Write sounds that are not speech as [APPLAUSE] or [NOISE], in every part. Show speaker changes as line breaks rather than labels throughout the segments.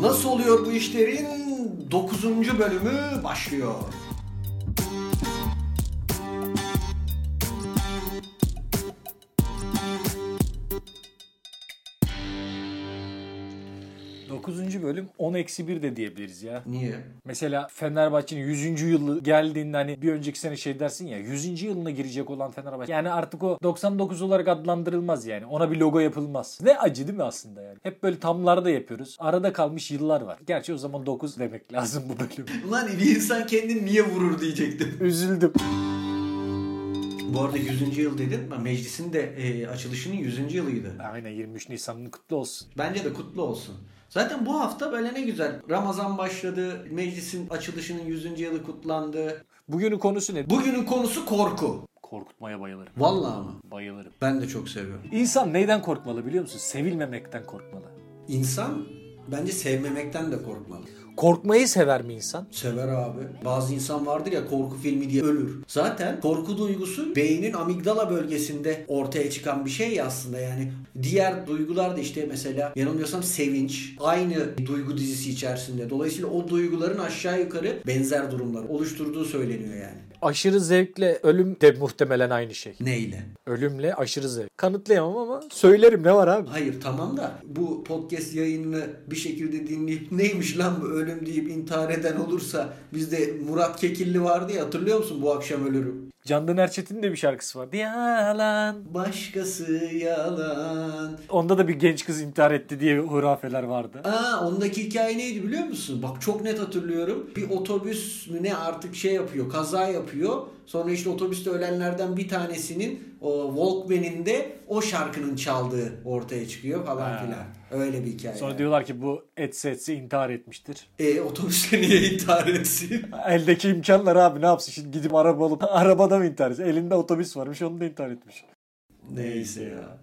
Nasıl oluyor bu işlerin 9. bölümü başlıyor.
Dokuzuncu bölüm 10 eksi 1 de diyebiliriz ya.
Niye?
Mesela Fenerbahçe'nin 100. yılı geldiğinde hani bir önceki sene şey dersin ya 100. yılına girecek olan Fenerbahçe. Yani artık o 99 olarak adlandırılmaz yani. Ona bir logo yapılmaz. Ne acı değil mi aslında yani? Hep böyle tamlarda yapıyoruz. Arada kalmış yıllar var. Gerçi o zaman 9 demek lazım bu bölüm. [LAUGHS]
Ulan bir insan kendini niye vurur diyecektim.
Üzüldüm.
Bu arada 100. yıl dedin. ama Meclisin de e, açılışının 100. yılıydı.
Aynen 23 Nisan'ın kutlu olsun.
Bence de kutlu olsun. Zaten bu hafta böyle ne güzel. Ramazan başladı. Meclisin açılışının 100. yılı kutlandı.
Bugünün konusu ne?
Bugünün konusu korku.
Korkutmaya bayılırım.
Vallahi mı?
Bayılırım.
Ben de çok seviyorum.
İnsan neyden korkmalı biliyor musun? Sevilmemekten korkmalı.
İnsan bence sevmemekten de korkmalı.
Korkmayı sever mi insan?
Sever abi. Bazı insan vardır ya korku filmi diye ölür. Zaten korku duygusu beynin amigdala bölgesinde ortaya çıkan bir şey ya aslında yani. Diğer duygular da işte mesela yanılmıyorsam sevinç aynı duygu dizisi içerisinde. Dolayısıyla o duyguların aşağı yukarı benzer durumlar oluşturduğu söyleniyor yani.
Aşırı zevkle ölüm de muhtemelen aynı şey.
Neyle?
Ölümle aşırı zevk. Kanıtlayamam ama söylerim ne var abi.
Hayır tamam da bu podcast yayınını bir şekilde dinleyip [LAUGHS] neymiş lan bu ölüm deyip intihar eden olursa bizde Murat Kekilli vardı ya hatırlıyor musun bu akşam ölürüm.
Candan Erçetin de bir şarkısı vardı. Yalan.
Başkası yalan.
Onda da bir genç kız intihar etti diye hurafeler vardı.
Aa ondaki hikaye neydi biliyor musun? Bak çok net hatırlıyorum. Bir otobüs mü ne artık şey yapıyor, kaza yapıyor. Sonra işte otobüste ölenlerden bir tanesinin o Walkman'inde o şarkının çaldığı ortaya çıkıyor falan
Ha.
filan. Öyle bir hikaye.
Sonra diyorlar ki bu etse etse intihar etmiştir.
E otobüste [LAUGHS] niye intihar etsin?
Eldeki imkanlar abi ne yapsın şimdi gidip araba alıp [LAUGHS] arabada mı intihar etsin? Elinde otobüs varmış onu da intihar etmiş.
Neyse ya.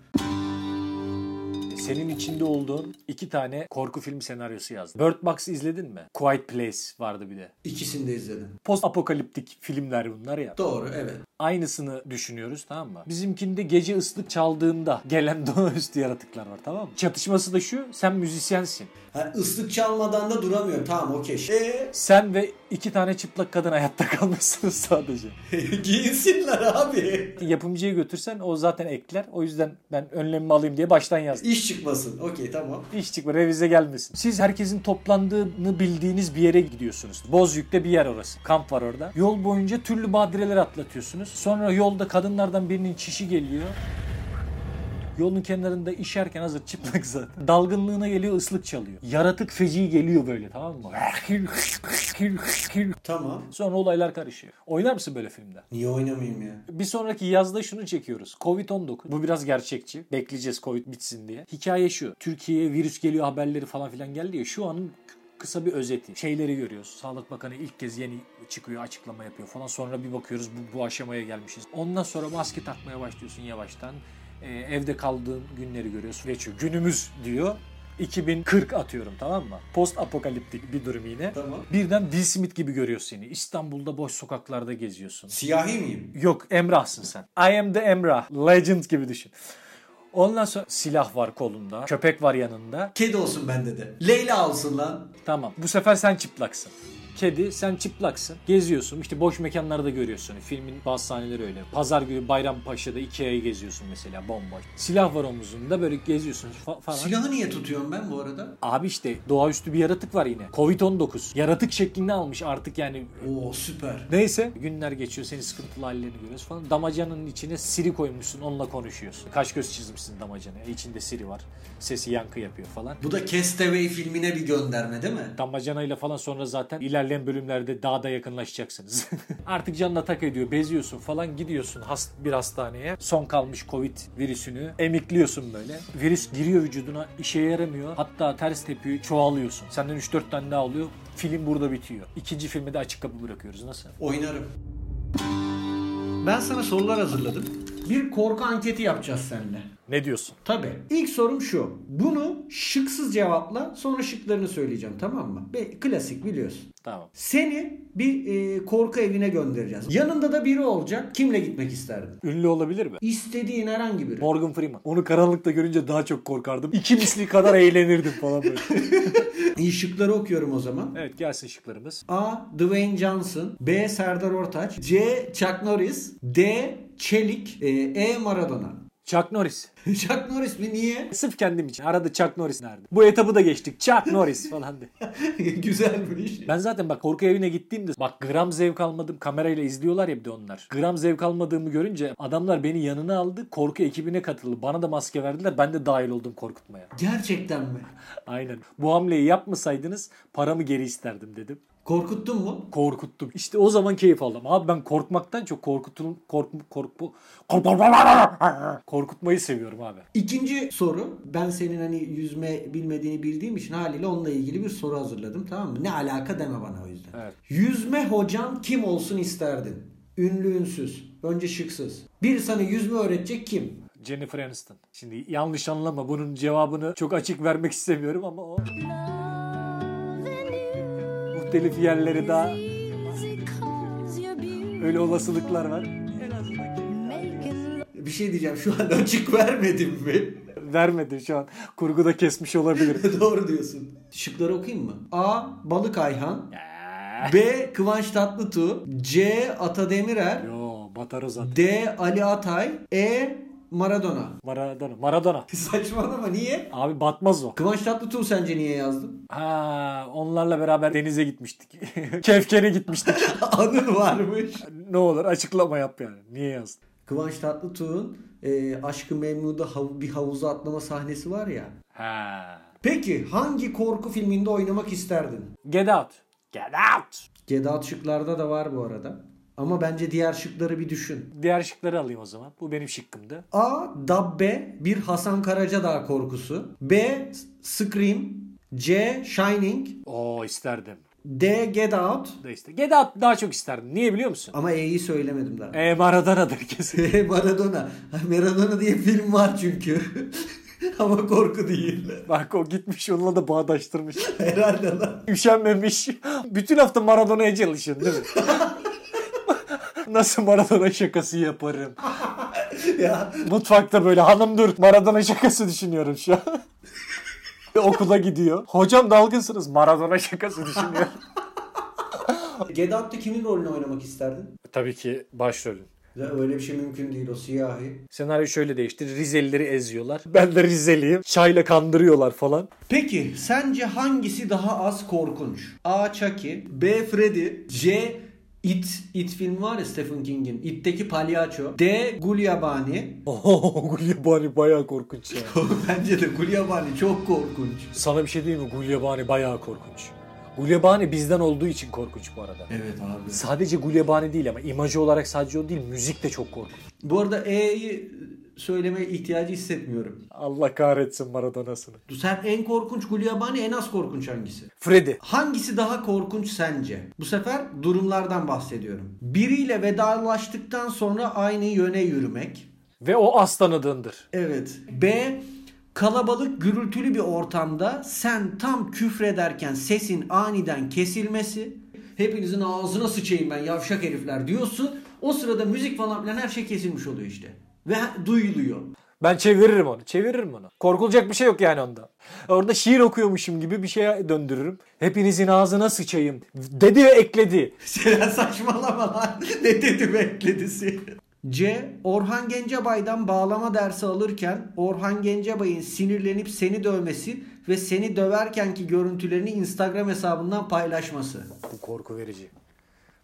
Senin içinde olduğun iki tane korku film senaryosu yazdım. Bird Box izledin mi? Quiet Place vardı bir de.
İkisini de izledim.
Post apokaliptik filmler bunlar ya.
Doğru evet.
Aynısını düşünüyoruz tamam mı? Bizimkinde gece ıslık çaldığında gelen [LAUGHS] doğaüstü yaratıklar var tamam mı? Çatışması da şu sen müzisyensin.
Ha, ıslık çalmadan da duramıyor. Tamam okey. E
Sen ve iki tane çıplak kadın hayatta [LAUGHS] kalmışsınız sadece.
E, [LAUGHS] giyinsinler abi.
Yapımcıya götürsen o zaten ekler. O yüzden ben önlemimi alayım diye baştan yazdım.
İş çıkmasın. Okey tamam.
İş çıkma revize gelmesin. Siz herkesin toplandığını bildiğiniz bir yere gidiyorsunuz. Bozyük'te bir yer orası. Kamp var orada. Yol boyunca türlü badireler atlatıyorsunuz. Sonra yolda kadınlardan birinin çişi geliyor. Yolun kenarında işerken hazır çıplak zaten. Dalgınlığına geliyor ıslık çalıyor. Yaratık feci geliyor böyle tamam mı?
Tamam.
Sonra olaylar karışıyor. Oynar mısın böyle filmde?
Niye oynamayayım ya?
Bir sonraki yazda şunu çekiyoruz. Covid-19. Bu biraz gerçekçi. Bekleyeceğiz Covid bitsin diye. Hikaye şu. Türkiye'ye virüs geliyor haberleri falan filan geldi ya. Şu anın k- kısa bir özeti. Şeyleri görüyoruz. Sağlık Bakanı ilk kez yeni çıkıyor açıklama yapıyor falan. Sonra bir bakıyoruz bu, bu aşamaya gelmişiz. Ondan sonra maske takmaya başlıyorsun yavaştan. Ee, evde kaldığın günleri görüyorsun. Geçiyor. Günümüz diyor. 2040 atıyorum tamam mı? Post apokaliptik bir durum yine.
Tamam.
Birden Will Smith gibi görüyor seni. İstanbul'da boş sokaklarda geziyorsun.
Siyahi miyim?
Yok Emrah'sın sen. I am the Emrah. Legend gibi düşün. Ondan sonra silah var kolunda. Köpek var yanında.
Kedi olsun bende de. Leyla olsun lan.
Tamam. Bu sefer sen çıplaksın. Kedi sen çıplaksın. Geziyorsun. İşte boş mekanlarda görüyorsun. Filmin bazı sahneleri öyle. Pazar günü Bayrampaşa'da Ikea'yı geziyorsun mesela bomboş. Silah var omuzunda böyle geziyorsun fa- falan.
Silahı niye tutuyorum ben bu arada?
Abi işte doğaüstü bir yaratık var yine. Covid-19. Yaratık şeklini almış artık yani
Oo süper.
Neyse günler geçiyor senin sıkıntılı hallerini görüyoruz falan. Damacanın içine siri koymuşsun onunla konuşuyorsun. Kaş göz çizmişsin damacanı. İçinde siri var. Sesi yankı yapıyor falan.
Bu da Castaway filmine bir gönderme değil mi?
Damacanayla falan sonra zaten ilerleyen bölümlerde daha da yakınlaşacaksınız. [LAUGHS] Artık canına tak ediyor. Beziyorsun falan gidiyorsun hast bir hastaneye. Son kalmış covid virüsünü emikliyorsun böyle. Virüs giriyor vücuduna işe yaramıyor. Hatta ters tepiyor çoğalıyorsun. Senden 3-4 tane daha alıyor. Film burada bitiyor. İkinci filmi de açık kapı bırakıyoruz. Nasıl?
Oynarım. Ben sana sorular hazırladım. Bir korku anketi yapacağız seninle.
Ne diyorsun?
Tabii. İlk sorum şu. Bunu şıksız cevapla sonra şıklarını söyleyeceğim tamam mı? Be, klasik biliyorsun.
Tamam.
Seni bir e, korku evine göndereceğiz. Yanında da biri olacak. Kimle gitmek isterdin?
Ünlü olabilir mi?
İstediğin herhangi biri.
Morgan Freeman. Onu karanlıkta görünce daha çok korkardım. İki misli kadar eğlenirdim falan böyle.
İyi şıkları okuyorum o zaman.
Evet gelsin şıklarımız.
A. Dwayne Johnson B. Serdar Ortaç C. Chuck Norris D. Çelik E. e Maradona [LAUGHS]
Chuck Norris.
Chuck Norris mi? Niye? [LAUGHS]
Sırf kendim için. Arada Chuck Norris nerede? Bu etabı da geçtik. Chuck Norris falan de.
Güzelmiş.
Ben zaten bak korku evine gittiğimde bak gram zevk almadım. Kamerayla izliyorlar ya bir de onlar. Gram zevk almadığımı görünce adamlar beni yanına aldı. Korku ekibine katıldı. Bana da maske verdiler. Ben de dahil oldum korkutmaya.
Gerçekten mi?
Aynen. Bu hamleyi yapmasaydınız paramı geri isterdim dedim.
Korkuttun mu?
Korkuttum. İşte o zaman keyif aldım. Abi ben korkmaktan çok korkutun kork korku korkutmayı seviyorum abi.
İkinci soru. Ben senin hani yüzme bilmediğini bildiğim için haliyle onunla ilgili bir soru hazırladım tamam mı? Ne alaka deme bana o yüzden.
Evet.
Yüzme hocan kim olsun isterdin? Ünlü ünsüz. Önce şıksız. Bir sana yüzme öğretecek kim?
Jennifer Aniston. Şimdi yanlış anlama bunun cevabını çok açık vermek istemiyorum ama o muhtelif yerleri daha öyle olasılıklar var. En azından ki-
Bir şey diyeceğim şu an açık vermedim mi? [LAUGHS]
vermedi şu an. Kurguda kesmiş olabilirim.
Doğru diyorsun. Şıkları okuyayım mı? A. Balık Ayhan B. Kıvanç Tatlıtuğ C. Ata Demirer
Yo batarız zaten.
D. Ali Atay E. Maradona [LAUGHS]
Maradona. Maradona.
Saçmalama niye?
Abi batmaz o.
Kıvanç Tatlıtuğ sence niye yazdın?
Ha, onlarla beraber denize gitmiştik. [LAUGHS] Kefkene gitmiştik.
[LAUGHS] Anın varmış.
ne olur açıklama yap yani. Niye yazdın?
Kıvanç Tatlıtuğ'un e, Aşkı Memnu'da hav- bir havuza atlama sahnesi var ya.
Ha.
Peki hangi korku filminde oynamak isterdin?
Get out. Get out.
Gedat şıklarda da var bu arada. Ama bence diğer şıkları bir düşün.
Diğer şıkları alayım o zaman. Bu benim şıkkımdı.
A. Dabbe bir Hasan Karacadağ korkusu. B. Scream C. Shining
Oo isterdim.
D. Get Out
Da iste. Get out daha çok isterdim. Niye biliyor musun?
ama E'yi söylemedim daha.
E Maradona'dır
[LAUGHS]
kesin. [LAUGHS]
Maradona. Maradona diye film var çünkü. [LAUGHS] Ama korku değil.
Bak o gitmiş onunla da bağdaştırmış. [LAUGHS]
Herhalde lan.
Üşenmemiş. Bütün hafta Maradona'ya çalışın değil mi? [LAUGHS] Nasıl Maradona şakası yaparım?
Ya
Mutfakta böyle hanım dur Maradona şakası düşünüyorum şu an. [LAUGHS] Ve Okula gidiyor. Hocam dalgınsınız Maradona şakası düşünüyor.
Get Out'ta kimin rolünü oynamak isterdin?
Tabii ki başrolün.
Ya öyle bir şey mümkün değil o siyahi.
Senaryo şöyle değişti. Rizelileri eziyorlar. Ben de Rizeliyim. Çayla kandırıyorlar falan. [LAUGHS]
Peki sence hangisi daha az korkunç? A. Chucky B. Freddy C. It. It film var ya Stephen King'in. It'teki palyaço. D. Gulyabani. [LAUGHS]
Oho Oh, Gulyabani bayağı korkunç ya.
Bence de Gulyabani çok korkunç.
Sana bir şey diyeyim mi? Gulyabani bayağı korkunç. Gulyabani bizden olduğu için korkunç bu arada.
Evet abi.
Sadece Gulyabani değil ama imajı olarak sadece o değil müzik de çok korkunç.
Bu arada E'yi söylemeye ihtiyacı hissetmiyorum.
Allah kahretsin Maradona'sını.
Sen en korkunç Gulyabani en az korkunç hangisi?
Freddy.
Hangisi daha korkunç sence? Bu sefer durumlardan bahsediyorum. Biriyle vedalaştıktan sonra aynı yöne yürümek.
Ve o az tanıdığındır.
Evet. B. Kalabalık gürültülü bir ortamda sen tam küfrederken sesin aniden kesilmesi. Hepinizin ağzına sıçayım ben yavşak herifler diyorsun. O sırada müzik falan filan her şey kesilmiş oluyor işte. Ve duyuluyor. [LAUGHS]
Ben çeviririm onu. Çeviririm onu. Korkulacak bir şey yok yani onda. Orada şiir okuyormuşum gibi bir şeye döndürürüm. Hepinizin ağzına sıçayım. Dedi ve ekledi.
Sen saçmalama lan. [LAUGHS] ne dedi bekledisi. C. Orhan Gencebay'dan bağlama dersi alırken Orhan Gencebay'ın sinirlenip seni dövmesi ve seni döverkenki görüntülerini Instagram hesabından paylaşması.
Bu korku verici.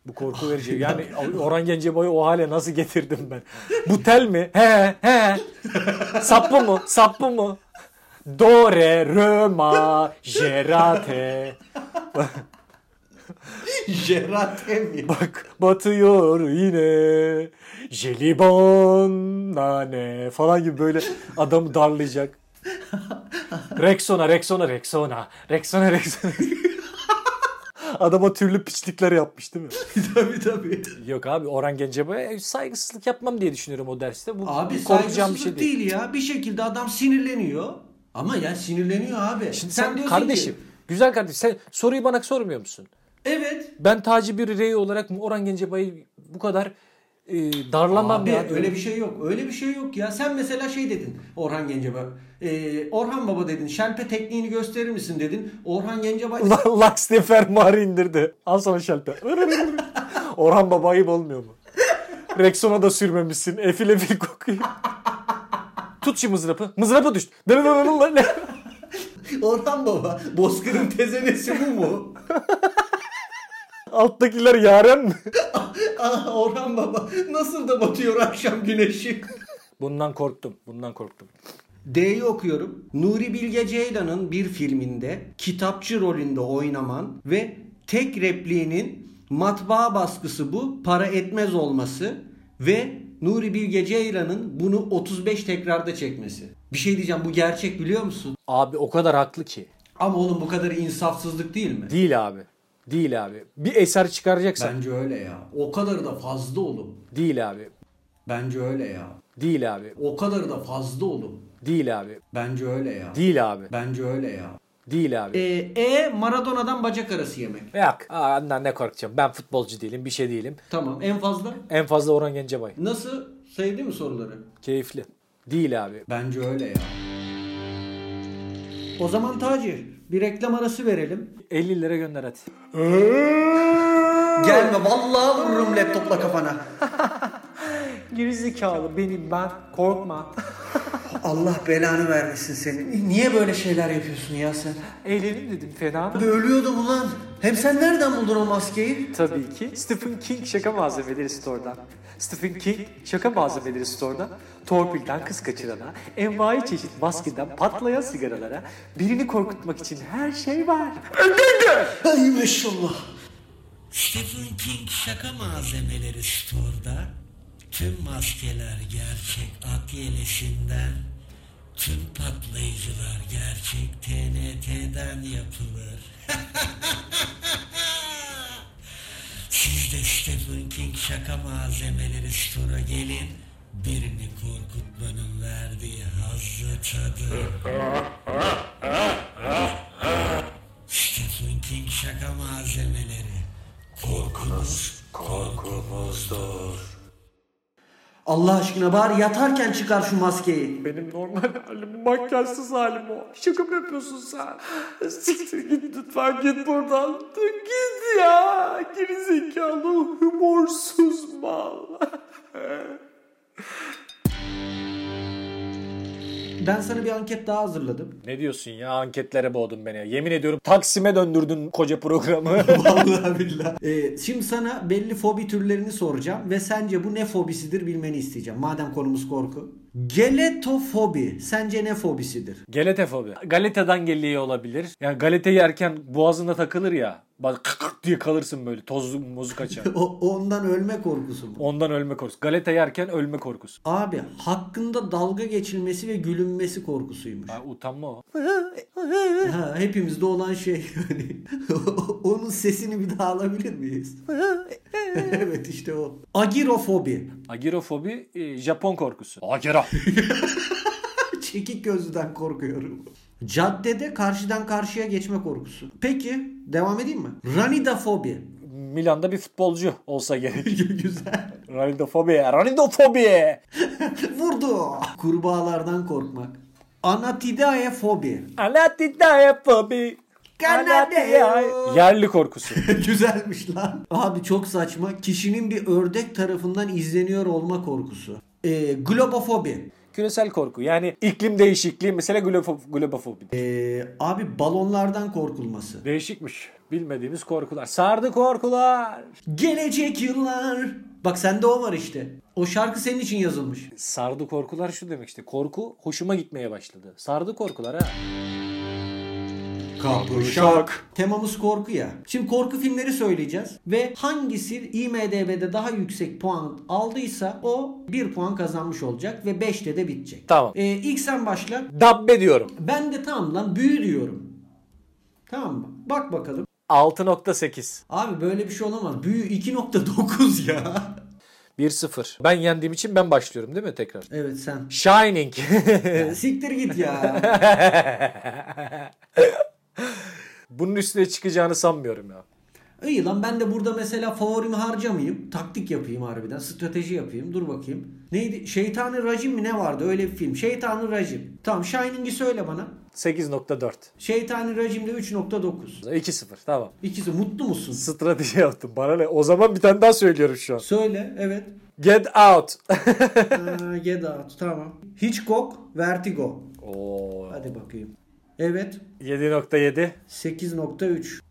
Bu korku verici. Yani Orhan Gencebay'ı o hale nasıl getirdim ben? Bu tel mi? He he. Saplı mı? Saplı mı? Do re rö ma je ra te.
[LAUGHS] Jeratem
[LAUGHS]
ya.
Bak batıyor yine jelibon nane falan gibi böyle adamı darlayacak. Rexona, Rexona, Rexona, Rexona, Rexona. Adama türlü piçlikler yapmış değil mi?
tabii tabii.
Yok abi Orhan Gencebay'a saygısızlık yapmam diye düşünüyorum o derste. Bu
Abi
korkacağım bir
saygısızlık
şey değil.
değil ya. Bir şekilde adam sinirleniyor. Ama ya sinirleniyor abi.
Şimdi
sen,
sen,
diyorsun
kardeşim,
ki
güzel kardeşim sen soruyu bana sormuyor musun?
evet
Ben Taci bir rey olarak mı Orhan Gencebay'ı bu kadar e, darlamam
Abi
ya.
öyle bir şey yok. Öyle bir şey yok ya. Sen mesela şey dedin Orhan Gencebay. Ee, Orhan Baba dedin. Şelpe tekniğini gösterir misin dedin. Orhan Gencebay
Laks diye fermuarı indirdi. Al sana şelpe. Orhan baba ayıp olmuyor mu? Rexona da sürmemişsin. Efil efil kokuyor. Tut şu mızrapı. Mızrapı düştü.
[LAUGHS] Orhan Baba Bozkır'ın tezenesi bu mu? [LAUGHS]
Alttakiler yaren mi?
Ah Orhan Baba nasıl da batıyor akşam güneşi.
Bundan korktum. Bundan korktum.
D'yi okuyorum. Nuri Bilge Ceylan'ın bir filminde kitapçı rolünde oynaman ve tek repliğinin matbaa baskısı bu para etmez olması ve Nuri Bilge Ceylan'ın bunu 35 tekrarda çekmesi. Bir şey diyeceğim bu gerçek biliyor musun?
Abi o kadar haklı ki.
Ama oğlum bu kadar insafsızlık değil mi?
Değil abi. Değil abi. Bir eser çıkaracaksan.
Bence öyle ya. O kadar da fazla oğlum.
Değil abi.
Bence öyle ya.
Değil abi.
O kadar da fazla oğlum.
Değil abi.
Bence öyle ya.
Değil abi.
Bence öyle ya.
Değil abi.
E, e Maradona'dan bacak arası yemek.
Yok. Aa, ondan ne korkacağım? Ben futbolcu değilim. Bir şey değilim.
Tamam en fazla.
En fazla Orhan Gencebay.
Nasıl? Sevdi mi soruları?
Keyifli. Değil abi.
Bence öyle ya. O zaman Taci bir reklam arası verelim.
50 lira gönder hadi.
Gelme vallahi vururum laptopla kafana.
Gerizekalı benim ben. Korkma.
Allah belanı vermesin seni. Niye böyle şeyler yapıyorsun ya sen?
Eğlenim dedim fena mı?
Abi ölüyordum ulan. Hem sen nereden buldun o maskeyi?
Tabii ki. Stephen King şaka malzemeleri store'dan. Stephen King şaka malzemeleri store'dan. Torpilden kız kaçırana, envai çeşit maskeden patlayan sigaralara, birini korkutmak için her şey var.
Ay maşallah.
Stephen King şaka malzemeleri store'da tüm maskeler gerçek akyelesinden, tüm patlayıcılar gerçek TNT'den yapılır. [LAUGHS] Siz de Stephen King şaka malzemeleri store'a gelin, birini korkutmanın verdiği hazzı tadı. Stephen King şaka malzemeleri. Korkunuz korkumuzdur.
Allah aşkına bari yatarken çıkar şu maskeyi.
Benim normal halim, makyajsız halim o. Şaka mı yapıyorsun sen? Siktir git lütfen git buradan. Git ya. Gerizekalı, humorsuz mal.
Ben sana bir anket daha hazırladım.
Ne diyorsun ya anketlere boğdun beni. Yemin ediyorum Taksim'e döndürdün koca [LAUGHS] programı.
Vallahi billahi. Ee, şimdi sana belli fobi türlerini soracağım ve sence bu ne fobisidir bilmeni isteyeceğim. Madem konumuz korku. Geletofobi sence ne fobisidir? [LAUGHS]
Galete fobi. Galeta'dan geliyor olabilir. Yani galete yerken boğazında takılır ya. Bak kık kık diye kalırsın böyle tozlu mozu kaçar.
O, ondan ölme korkusu mu?
Ondan ölme korkusu. Galeta yerken ölme korkusu.
Abi hakkında dalga geçilmesi ve gülünmesi korkusuymuş.
Ha, utanma o.
Ha, hepimizde olan şey yani. [LAUGHS] Onun sesini bir daha alabilir miyiz? [LAUGHS] evet işte o. Agirofobi.
Agirofobi e, Japon korkusu. Agera.
Çekik gözlüden korkuyorum. Caddede karşıdan karşıya geçme korkusu. Peki devam edeyim mi? [LAUGHS] Ranidafobi.
Milan'da bir futbolcu olsa gerek. [LAUGHS]
Güzel. [LAUGHS]
Ranidofobi. Ranidofobi.
Vurdu. Kurbağalardan korkmak. Anatidaefobi.
Anatidaefobi.
Kanadeo.
Yerli korkusu.
[LAUGHS] Güzelmiş lan. Abi çok saçma. Kişinin bir ördek tarafından izleniyor olma korkusu. Ee, globofobi.
Küresel korku. Yani iklim değişikliği mesela glofof- globofobi.
Ee, abi balonlardan korkulması.
Değişikmiş. Bilmediğimiz korkular. Sardı korkular.
Gelecek yıllar. Bak sende o var işte. O şarkı senin için yazılmış.
Sardı korkular şu demek işte. Korku hoşuma gitmeye başladı. Sardı korkular ha.
Kapuşak. Temamız korku ya. Şimdi korku filmleri söyleyeceğiz ve hangisi IMDB'de daha yüksek puan aldıysa o 1 puan kazanmış olacak ve 5'te de bitecek.
Tamam.
Ee, ilk sen başla.
Dabbe diyorum.
Ben de tamam lan büyü diyorum. Tamam mı? Bak bakalım.
6.8.
Abi böyle bir şey olamaz. Büyü 2.9 ya.
1-0. Ben yendiğim için ben başlıyorum değil mi tekrar?
Evet sen.
Shining. [LAUGHS]
Ee, Siktir git [LAUGHS] ya.
Bunun üstüne çıkacağını sanmıyorum ya.
İyi lan ben de burada mesela favorimi harcamayayım. Taktik yapayım harbiden. Strateji yapayım. Dur bakayım. Neydi? Şeytani Racim mi ne vardı? Öyle bir film. Şeytani Racim. Tamam Shining'i söyle bana.
8.4.
Şeytani Racim'de 3.9.
2-0 tamam.
İkisi mutlu musun?
Strateji yaptım bana ne? O zaman bir tane daha söylüyorum şu an.
Söyle. Evet.
Get out. [LAUGHS]
Aa, Get Out. Tamam. Hitchcock. Vertigo.
Oo.
Hadi bakayım. Evet.
7.7.
8.3.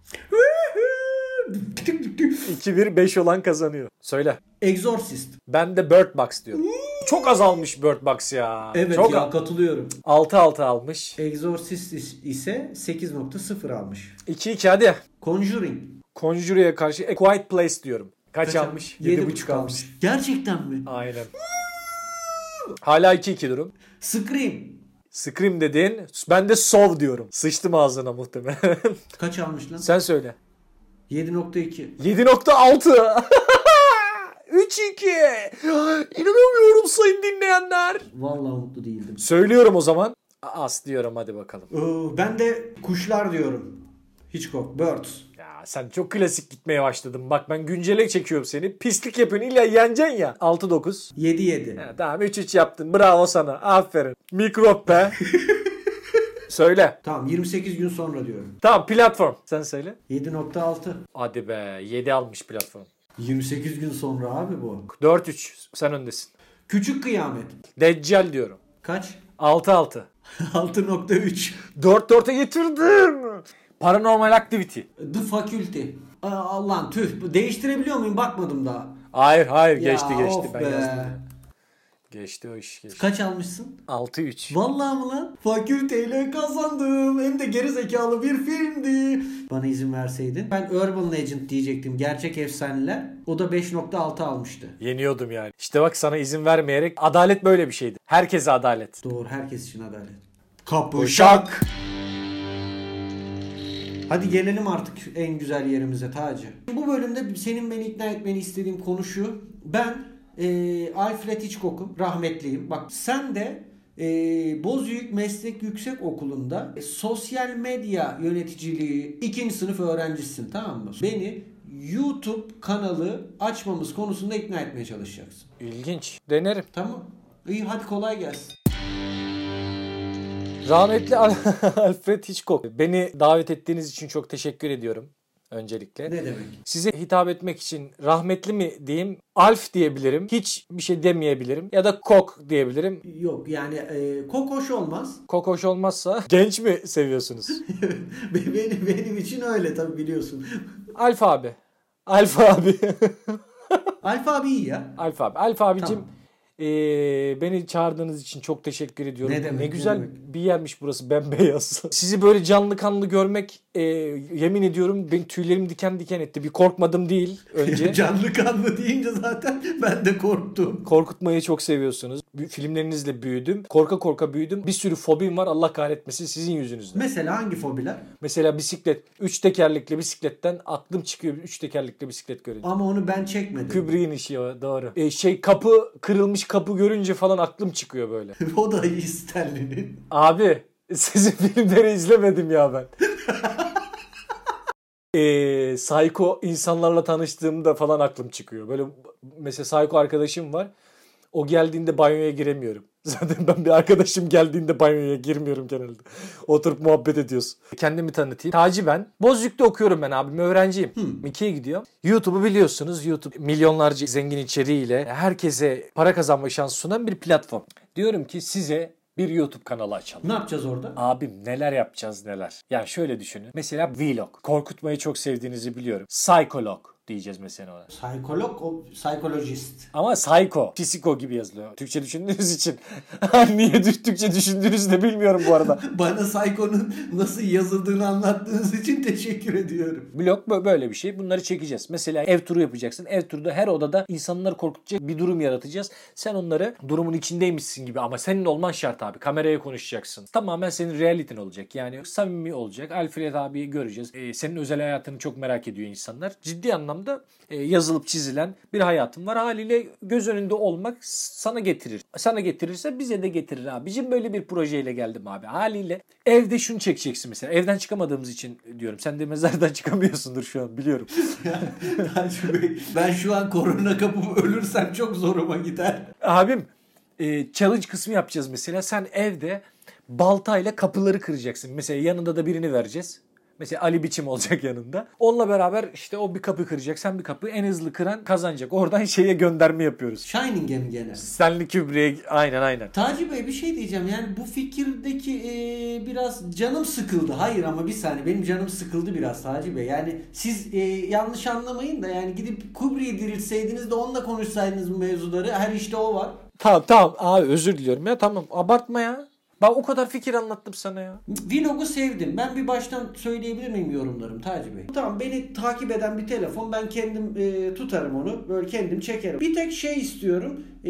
2-1-5 olan kazanıyor. Söyle.
Exorcist.
Ben de Bird Box diyorum. Çok azalmış Bird Box ya.
Evet
Çok
ya katılıyorum.
6-6 almış.
Exorcist is- ise 8.0-0 almış.
2-2 hadi.
Conjuring.
Conjure'ye karşı A Quiet Place diyorum. Kaç, almış? 7.5 almış.
Gerçekten mi?
Aynen. Hala 2-2 durum.
Scream.
Scream dedin. Ben de Sov diyorum. Sıçtım ağzına muhtemelen. [LAUGHS]
Kaç almış lan?
Sen söyle.
7.2.
[LAUGHS] 7.6. 3-2. İnanamıyorum sayın dinleyenler.
Vallahi mutlu değildim.
Söylüyorum o zaman. As diyorum hadi bakalım.
Ee, ben de kuşlar diyorum. Hitchcock. Birds.
Ya sen çok klasik gitmeye başladın. Bak ben güncele çekiyorum seni. Pislik yapıyorsun illa yeneceksin ya. 6-9.
7.7.
Ha, tamam 3-3 yaptın. Bravo sana. Aferin. Mikrop be. söyle.
Tamam 28 gün sonra diyorum.
Tamam platform. Sen söyle.
7.6.
Hadi be 7 almış platform.
28 gün sonra abi bu.
4-3 sen öndesin.
Küçük kıyamet.
Deccal diyorum.
Kaç? [LAUGHS]
6-6.
6.3.
4-4'e getirdim. Paranormal Activity.
The Faculty. Aa, Allah'ım tüh. Bu- Değiştirebiliyor muyum? Bakmadım daha.
Hayır hayır
Ya,
geçti geçti
of
ben
be.
yazdım. Geçti o iş geçti.
Kaç almışsın?
6-3.
Vallahi mı lan? Fakülteyle kazandım. Hem de geri zekalı bir filmdi. Bana izin verseydin. Ben Urban Legend diyecektim. Gerçek efsaneler. O da 5.6 almıştı.
Yeniyordum yani. İşte bak sana izin vermeyerek adalet böyle bir şeydi. Herkese adalet.
Doğru. Herkes için adalet.
Kapışak.
Hadi gelelim artık en güzel yerimize Taci. Bu bölümde senin beni ikna etmeni istediğim konu şu. Ben eee Alfred Hitchcock'um. Rahmetliyim. Bak sen de eee Bozüyük Meslek Yüksek Okulu'nda e, sosyal medya yöneticiliği ikinci sınıf öğrencisin tamam mı? Beni YouTube kanalı açmamız konusunda ikna etmeye çalışacaksın.
İlginç. Denerim.
Tamam. İyi hadi kolay gelsin.
Rahmetli Al- [LAUGHS] Alfred Hitchcock. Beni davet ettiğiniz için çok teşekkür ediyorum. Öncelikle.
Ne demek?
Size hitap etmek için rahmetli mi diyeyim? Alf diyebilirim. Hiç bir şey demeyebilirim. Ya da kok diyebilirim.
Yok yani e, kokoş olmaz. [LAUGHS]
Kok hoş olmazsa [LAUGHS] genç mi seviyorsunuz?
benim, benim için öyle tabii biliyorsun.
Alf abi. Alf abi. [LAUGHS]
Alfa abi iyi ya.
Alf abi. Alf abicim
Tamam.
eee, beni çağırdığınız için çok teşekkür ediyorum.
Ne demek, ne
güzel
demek.
bir yermiş burası bembeyaz. [LAUGHS] Sizi böyle canlı kanlı görmek eee, yemin ediyorum benim tüylerim diken diken etti. Bir korkmadım değil
[LAUGHS]
önce.
Canlı kanlı deyince zaten ben de korktum.
Korkutmayı çok seviyorsunuz. Bü- Filmlerinizle büyüdüm. Korka korka büyüdüm. Bir sürü fobim var. Allah kahretmesin sizin yüzünüzden.
Mesela hangi fobiler?
Mesela bisiklet. Üç tekerlekli bisikletten aklım çıkıyor. Üç tekerlekli bisiklet görünce.
Ama onu ben çekmedim.
Kubrick'in işi o doğru. E, şey kapı kırılmış kapı görünce falan aklım çıkıyor böyle.
[LAUGHS] o da iyi Stanley'nin.
Abi [LAUGHS] sizin filmleri izlemedim ya ben. e, psycho insanlarla tanıştığımda falan aklım çıkıyor. Böyle mesela psycho arkadaşım var. O geldiğinde banyoya giremiyorum. [LAUGHS] Zaten ben bir arkadaşım geldiğinde banyoya girmiyorum genelde. Oturup muhabbet ediyoruz. Kendimi tanıtayım. Taci ben. Bozüyük'te okuyorum ben abim. Öğrenciyim. Miki'ye gidiyor. YouTube'u biliyorsunuz. YouTube milyonlarca zengin içeriğiyle herkese para kazanma şansı sunan bir platform. Diyorum ki size bir YouTube kanalı açalım.
Ne yapacağız orada?
Abim neler yapacağız neler. Ya şöyle düşünün. Mesela vlog. Korkutmayı çok sevdiğinizi biliyorum. Psycholog diyeceğiz mesela ona.
Psikolog, o, psikolojist. [LAUGHS]
Ama psycho, psiko gibi yazılıyor. Türkçe düşündüğünüz için. [LAUGHS] Hani Niye Türk- Türkçe düşündüğünüzü de bilmiyorum bu arada.
Bana psikonun nasıl yazıldığını anlattığınız için teşekkür [LAUGHS] ediyorum.
Blok bö- böyle bir şey. Bunları çekeceğiz. Mesela ev turu yapacaksın. Ev turda her odada insanları korkutacak bir durum yaratacağız. Sen onları durumun içindeymişsin gibi ama senin olman şart abi. Kameraya konuşacaksın. Tamamen senin realiten olacak. Yani samimi olacak. Alfred abiyi göreceğiz. Ee, senin özel hayatını çok merak ediyor insanlar. Ciddi anlamda anlamda e, yazılıp çizilen bir hayatım var. Haliyle göz önünde olmak sana getirir. Sana getirirse bize de getirir abicim. Böyle bir projeyle geldim abi. Haliyle evde şunu çekeceksin mesela. Evden çıkamadığımız için diyorum. Sen de mezardan [LAUGHS] çıkamıyorsundur şu an biliyorum.
Tanju Bey, ben şu an korona kapıp ölürsem çok zoruma gider.
Abim e, challenge kısmı yapacağız mesela. Sen evde baltayla kapıları kıracaksın. Mesela yanında da birini vereceğiz. Mesela Ali Biçim olacak [LAUGHS] yanında. Onunla beraber işte o bir kapı kıracak. Sen bir kapı en hızlı kıran kazanacak. Oradan [LAUGHS] şeye gönderme yapıyoruz.
Shining'e mi gene?
Stanley Kubrick'e aynen aynen.
Taci Bey bir şey diyeceğim yani bu fikirdeki e, biraz canım sıkıldı. Hayır ama bir saniye benim canım sıkıldı biraz Taci Bey. Yani siz e, yanlış anlamayın da yani gidip Kubri'yi diriltseydiniz de onunla konuşsaydınız bu mevzuları her işte o var.
Tamam tamam abi özür diliyorum ya tamam abartma ya. Ben o kadar fikir anlattım sana ya.
Vlog'u sevdim. Ben bir baştan söyleyebilir miyim yorumlarım Taci Bey? Tamam beni takip eden bir telefon. Ben kendim e, tutarım onu. Böyle kendim çekerim. Bir tek şey istiyorum. E,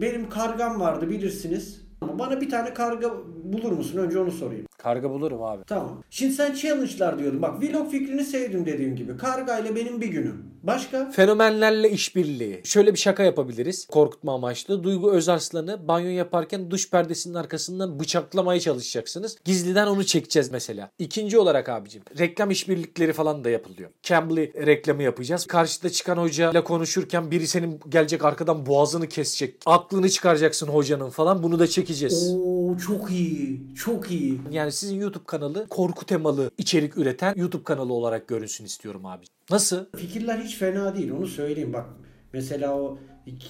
benim kargam vardı bilirsiniz. Bana bir tane karga bulur musun? Önce onu sorayım.
Karga bulurum abi.
Tamam. Şimdi sen challenge'lar diyordun. Bak vlog fikrini sevdim dediğim gibi. Kargayla benim bir günüm. Başka?
Fenomenlerle işbirliği. Şöyle bir şaka yapabiliriz. Korkutma amaçlı. Duygu Özarslan'ı banyo yaparken duş perdesinin arkasından bıçaklamaya çalışacaksınız. Gizliden onu çekeceğiz mesela. İkinci olarak abicim reklam işbirlikleri falan da yapılıyor. Cambly reklamı yapacağız. Karşıda çıkan hocayla konuşurken biri senin gelecek arkadan boğazını kesecek. Aklını çıkaracaksın hocanın falan. Bunu da çekeceğiz.
Oo çok iyi. Çok iyi.
Yani sizin YouTube kanalı korku temalı içerik üreten YouTube kanalı olarak görünsün istiyorum abi. Nasıl?
Fikirler hiç fena değil onu söyleyeyim bak. Mesela o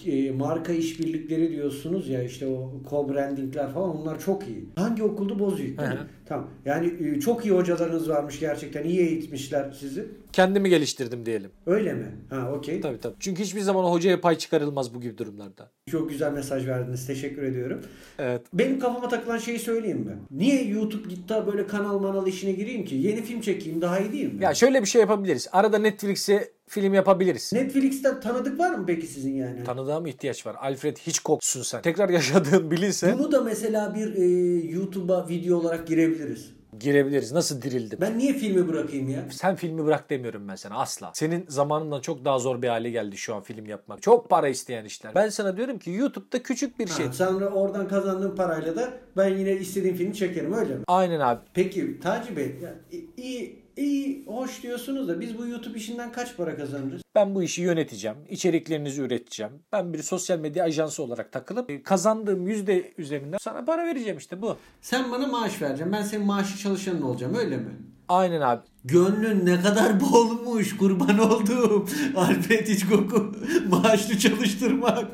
e, marka işbirlikleri diyorsunuz ya işte o co-brandingler falan onlar çok iyi. Hangi okuldu Bozüyük değil mi?
Hı hı.
Tamam. Yani e, çok iyi hocalarınız varmış gerçekten. iyi eğitmişler sizi.
Kendimi geliştirdim diyelim.
Öyle mi? Ha okey.
Tabii tabii. Çünkü hiçbir zaman hocaya pay çıkarılmaz bu gibi durumlarda.
Çok güzel mesaj verdiniz. Teşekkür ediyorum.
Evet.
Benim kafama takılan şeyi söyleyeyim mi? Niye YouTube gitti daha böyle kanal manal işine gireyim ki? Yeni film çekeyim daha iyi değil mi?
Ya şöyle bir şey yapabiliriz. Arada Netflix'e film yapabiliriz.
Netflix'ten tanıdık var mı peki sizin yani?
Tanıdığım ihtiyaç var. Alfred Hitchcock'sun sen. Tekrar yaşadığın [LAUGHS] bilinse
Bunu da mesela bir e, YouTube'a video olarak girebiliriz.
girebiliriz. Nasıl dirildim?
Ben niye filmi bırakayım ya?
Sen filmi bırak demiyorum ben sana asla. Senin zamanından çok daha zor bir hale geldi şu an film yapmak. Çok para isteyen işler. Ben sana diyorum ki YouTube'da küçük bir şey.
Ha, sonra oradan kazandığım parayla da ben yine istediğim filmi çekerim öyle mi?
Aynen abi.
Peki Taci Bey ya, i- iyi, iyi hoş diyorsunuz da biz bu YouTube işinden kaç para kazanırız?
Ben bu işi yöneteceğim. içeriklerinizi üreteceğim. Ben bir sosyal medya ajansı olarak takılıp e, kazandığım yüzde üzerinden sana para vereceğim işte bu.
Sen bana maaş vereceksin ben senin maaşı çalışanın olacağım öyle mi?
Aynen abi.
Gönlün ne kadar [LAUGHS] bolmuş kurban olduğum. Alfred Hitchcock'u maaşlı çalıştırmak.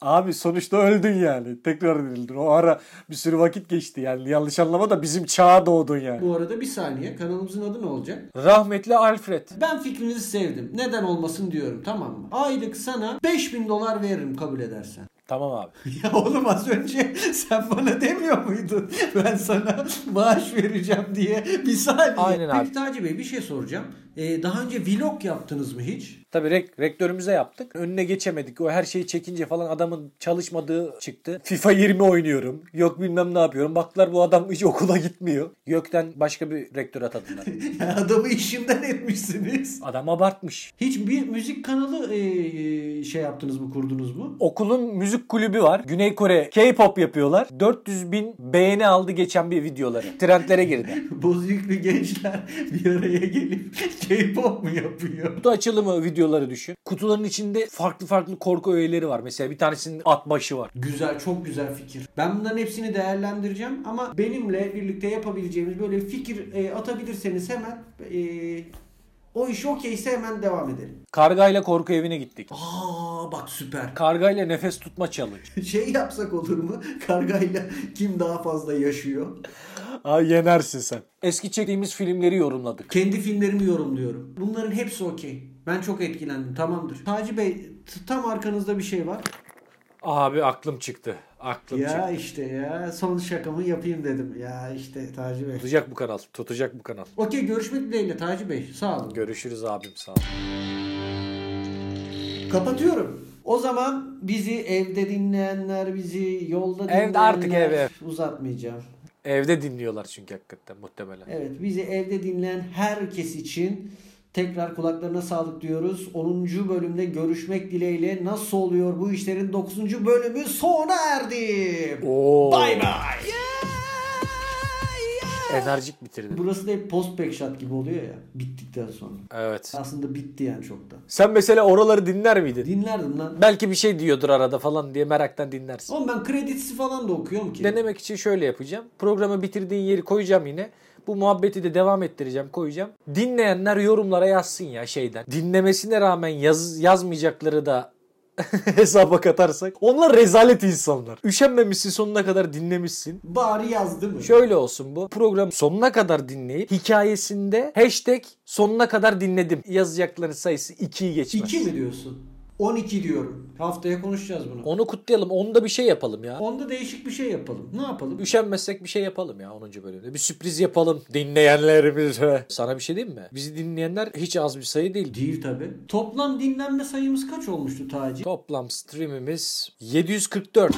Abi sonuçta öldün yani. Tekrar dirildin. O ara bir sürü vakit geçti yani. Yanlış anlama da bizim çağa doğdun yani.
Bu arada bir saniye kanalımızın adı ne olacak?
Rahmetli Alfred.
Ben fikrinizi sevdim. Neden olmasın diyorum tamam mı? Aylık sana 5000 dolar veririm kabul edersen.
Tamam abi.
[LAUGHS] Ya oğlum az önce sen bana demiyor muydun? Ben sana maaş vereceğim diye bir saniye.
Aynen abi.
Peki Taci Bey bir şey soracağım. Ee, daha önce vlog yaptınız mı hiç?
Tabii rek- rektörümüze yaptık. Önüne geçemedik. O her şeyi çekince falan adamın çalışmadığı çıktı. FIFA 20 oynuyorum. Yok bilmem ne yapıyorum. Baklar bu adam hiç okula gitmiyor. Gökten başka bir rektör atadılar.
Ya adamı işimden etmişsiniz.
adam abartmış.
Hiç bir müzik kanalı eee, şey yaptınız mı kurdunuz mu? [LAUGHS]
Okulun müzik kulübü var. Güney Kore K-pop yapıyorlar. 400 bin beğeni aldı geçen bir videoları. Trendlere girdi.
Bozyüklü gençler [LAUGHS] bir araya gelip [LAUGHS] K-pop mu yapıyor?
Kutu açılımı videoları düşün. Kutuların içinde farklı farklı korku öğeleri var. Mesela bir tanesinin at başı var.
Güzel, çok güzel fikir. Ben bunların hepsini değerlendireceğim ama benimle birlikte yapabileceğimiz böyle bir fikir eee, atabilirseniz hemen eee, o iş okeyse hemen devam edelim.
Kargayla korku evine gittik.
Aa bak süper. [LAUGHS]
Kargayla nefes tutma challenge.
Şey yapsak olur mu? Kargayla kim daha fazla yaşıyor?
Ay yenersin sen. Eski çektiğimiz filmleri yorumladık.
Kendi filmlerimi yorumluyorum. Bunların hepsi okey. Ben çok etkilendim. Tamamdır. Taci Bey t- tam arkanızda bir şey var.
Abi aklım çıktı. Aklım
Ya
çıktı.
işte ya son şakamı yapayım dedim. Ya işte Taci
[LAUGHS]
Bey.
Tutacak bu kanal. Tutacak bu kanal.
Okey görüşmek dileğiyle Taci Bey. Sağ olun.
Görüşürüz abim sağ ol.
Kapatıyorum. O zaman bizi evde dinleyenler, bizi yolda dinleyenler...
Evde artık ev, ev.
Uzatmayacağım.
Evde dinliyorlar çünkü hakikaten muhtemelen.
Evet bizi evde dinleyen herkes için Tekrar kulaklarına sağlık diyoruz. 10. bölümde görüşmek dileğiyle nasıl oluyor bu işlerin 9. bölümü sona erdi.
Oo.
Bay bay.
Enerjik bitirdi.
Burası da hep post back shot gibi oluyor ya bittikten sonra.
Evet.
Aslında bitti yani çoktan.
Sen mesela oraları dinler miydin?
Dinlerdim lan.
Belki bir şey diyordur arada falan diye meraktan dinlersin.
Oğlum ben kreditsi falan da okuyorum ki.
Denemek için şöyle yapacağım. Programı bitirdiğin yeri koyacağım yine. Bu muhabbeti de devam ettireceğim, koyacağım. Dinleyenler yorumlara yazsın ya şeyden. Dinlemesine rağmen yaz, yazmayacakları da [LAUGHS] hesaba katarsak. Onlar rezalet insanlar. Üşenmemişsin sonuna kadar dinlemişsin.
Bari yazdı mı?
Şöyle olsun bu. Program sonuna kadar dinleyip hikayesinde hashtag sonuna kadar dinledim yazacakların sayısı 2'yi geçmez.
2 mi diyorsun? 12 diyorum. Haftaya konuşacağız bunu.
Onu kutlayalım. Onda bir şey yapalım ya.
Onda değişik bir şey yapalım. Ne yapalım?
Üşenmezsek bir şey yapalım ya 10. bölümde. Bir sürpriz yapalım dinleyenlerimize. Sana bir şey diyeyim mi? Bizi dinleyenler hiç az bir sayı değil.
Değil tabi. Toplam dinlenme sayımız kaç olmuştu Taci?
Toplam streamimiz 744.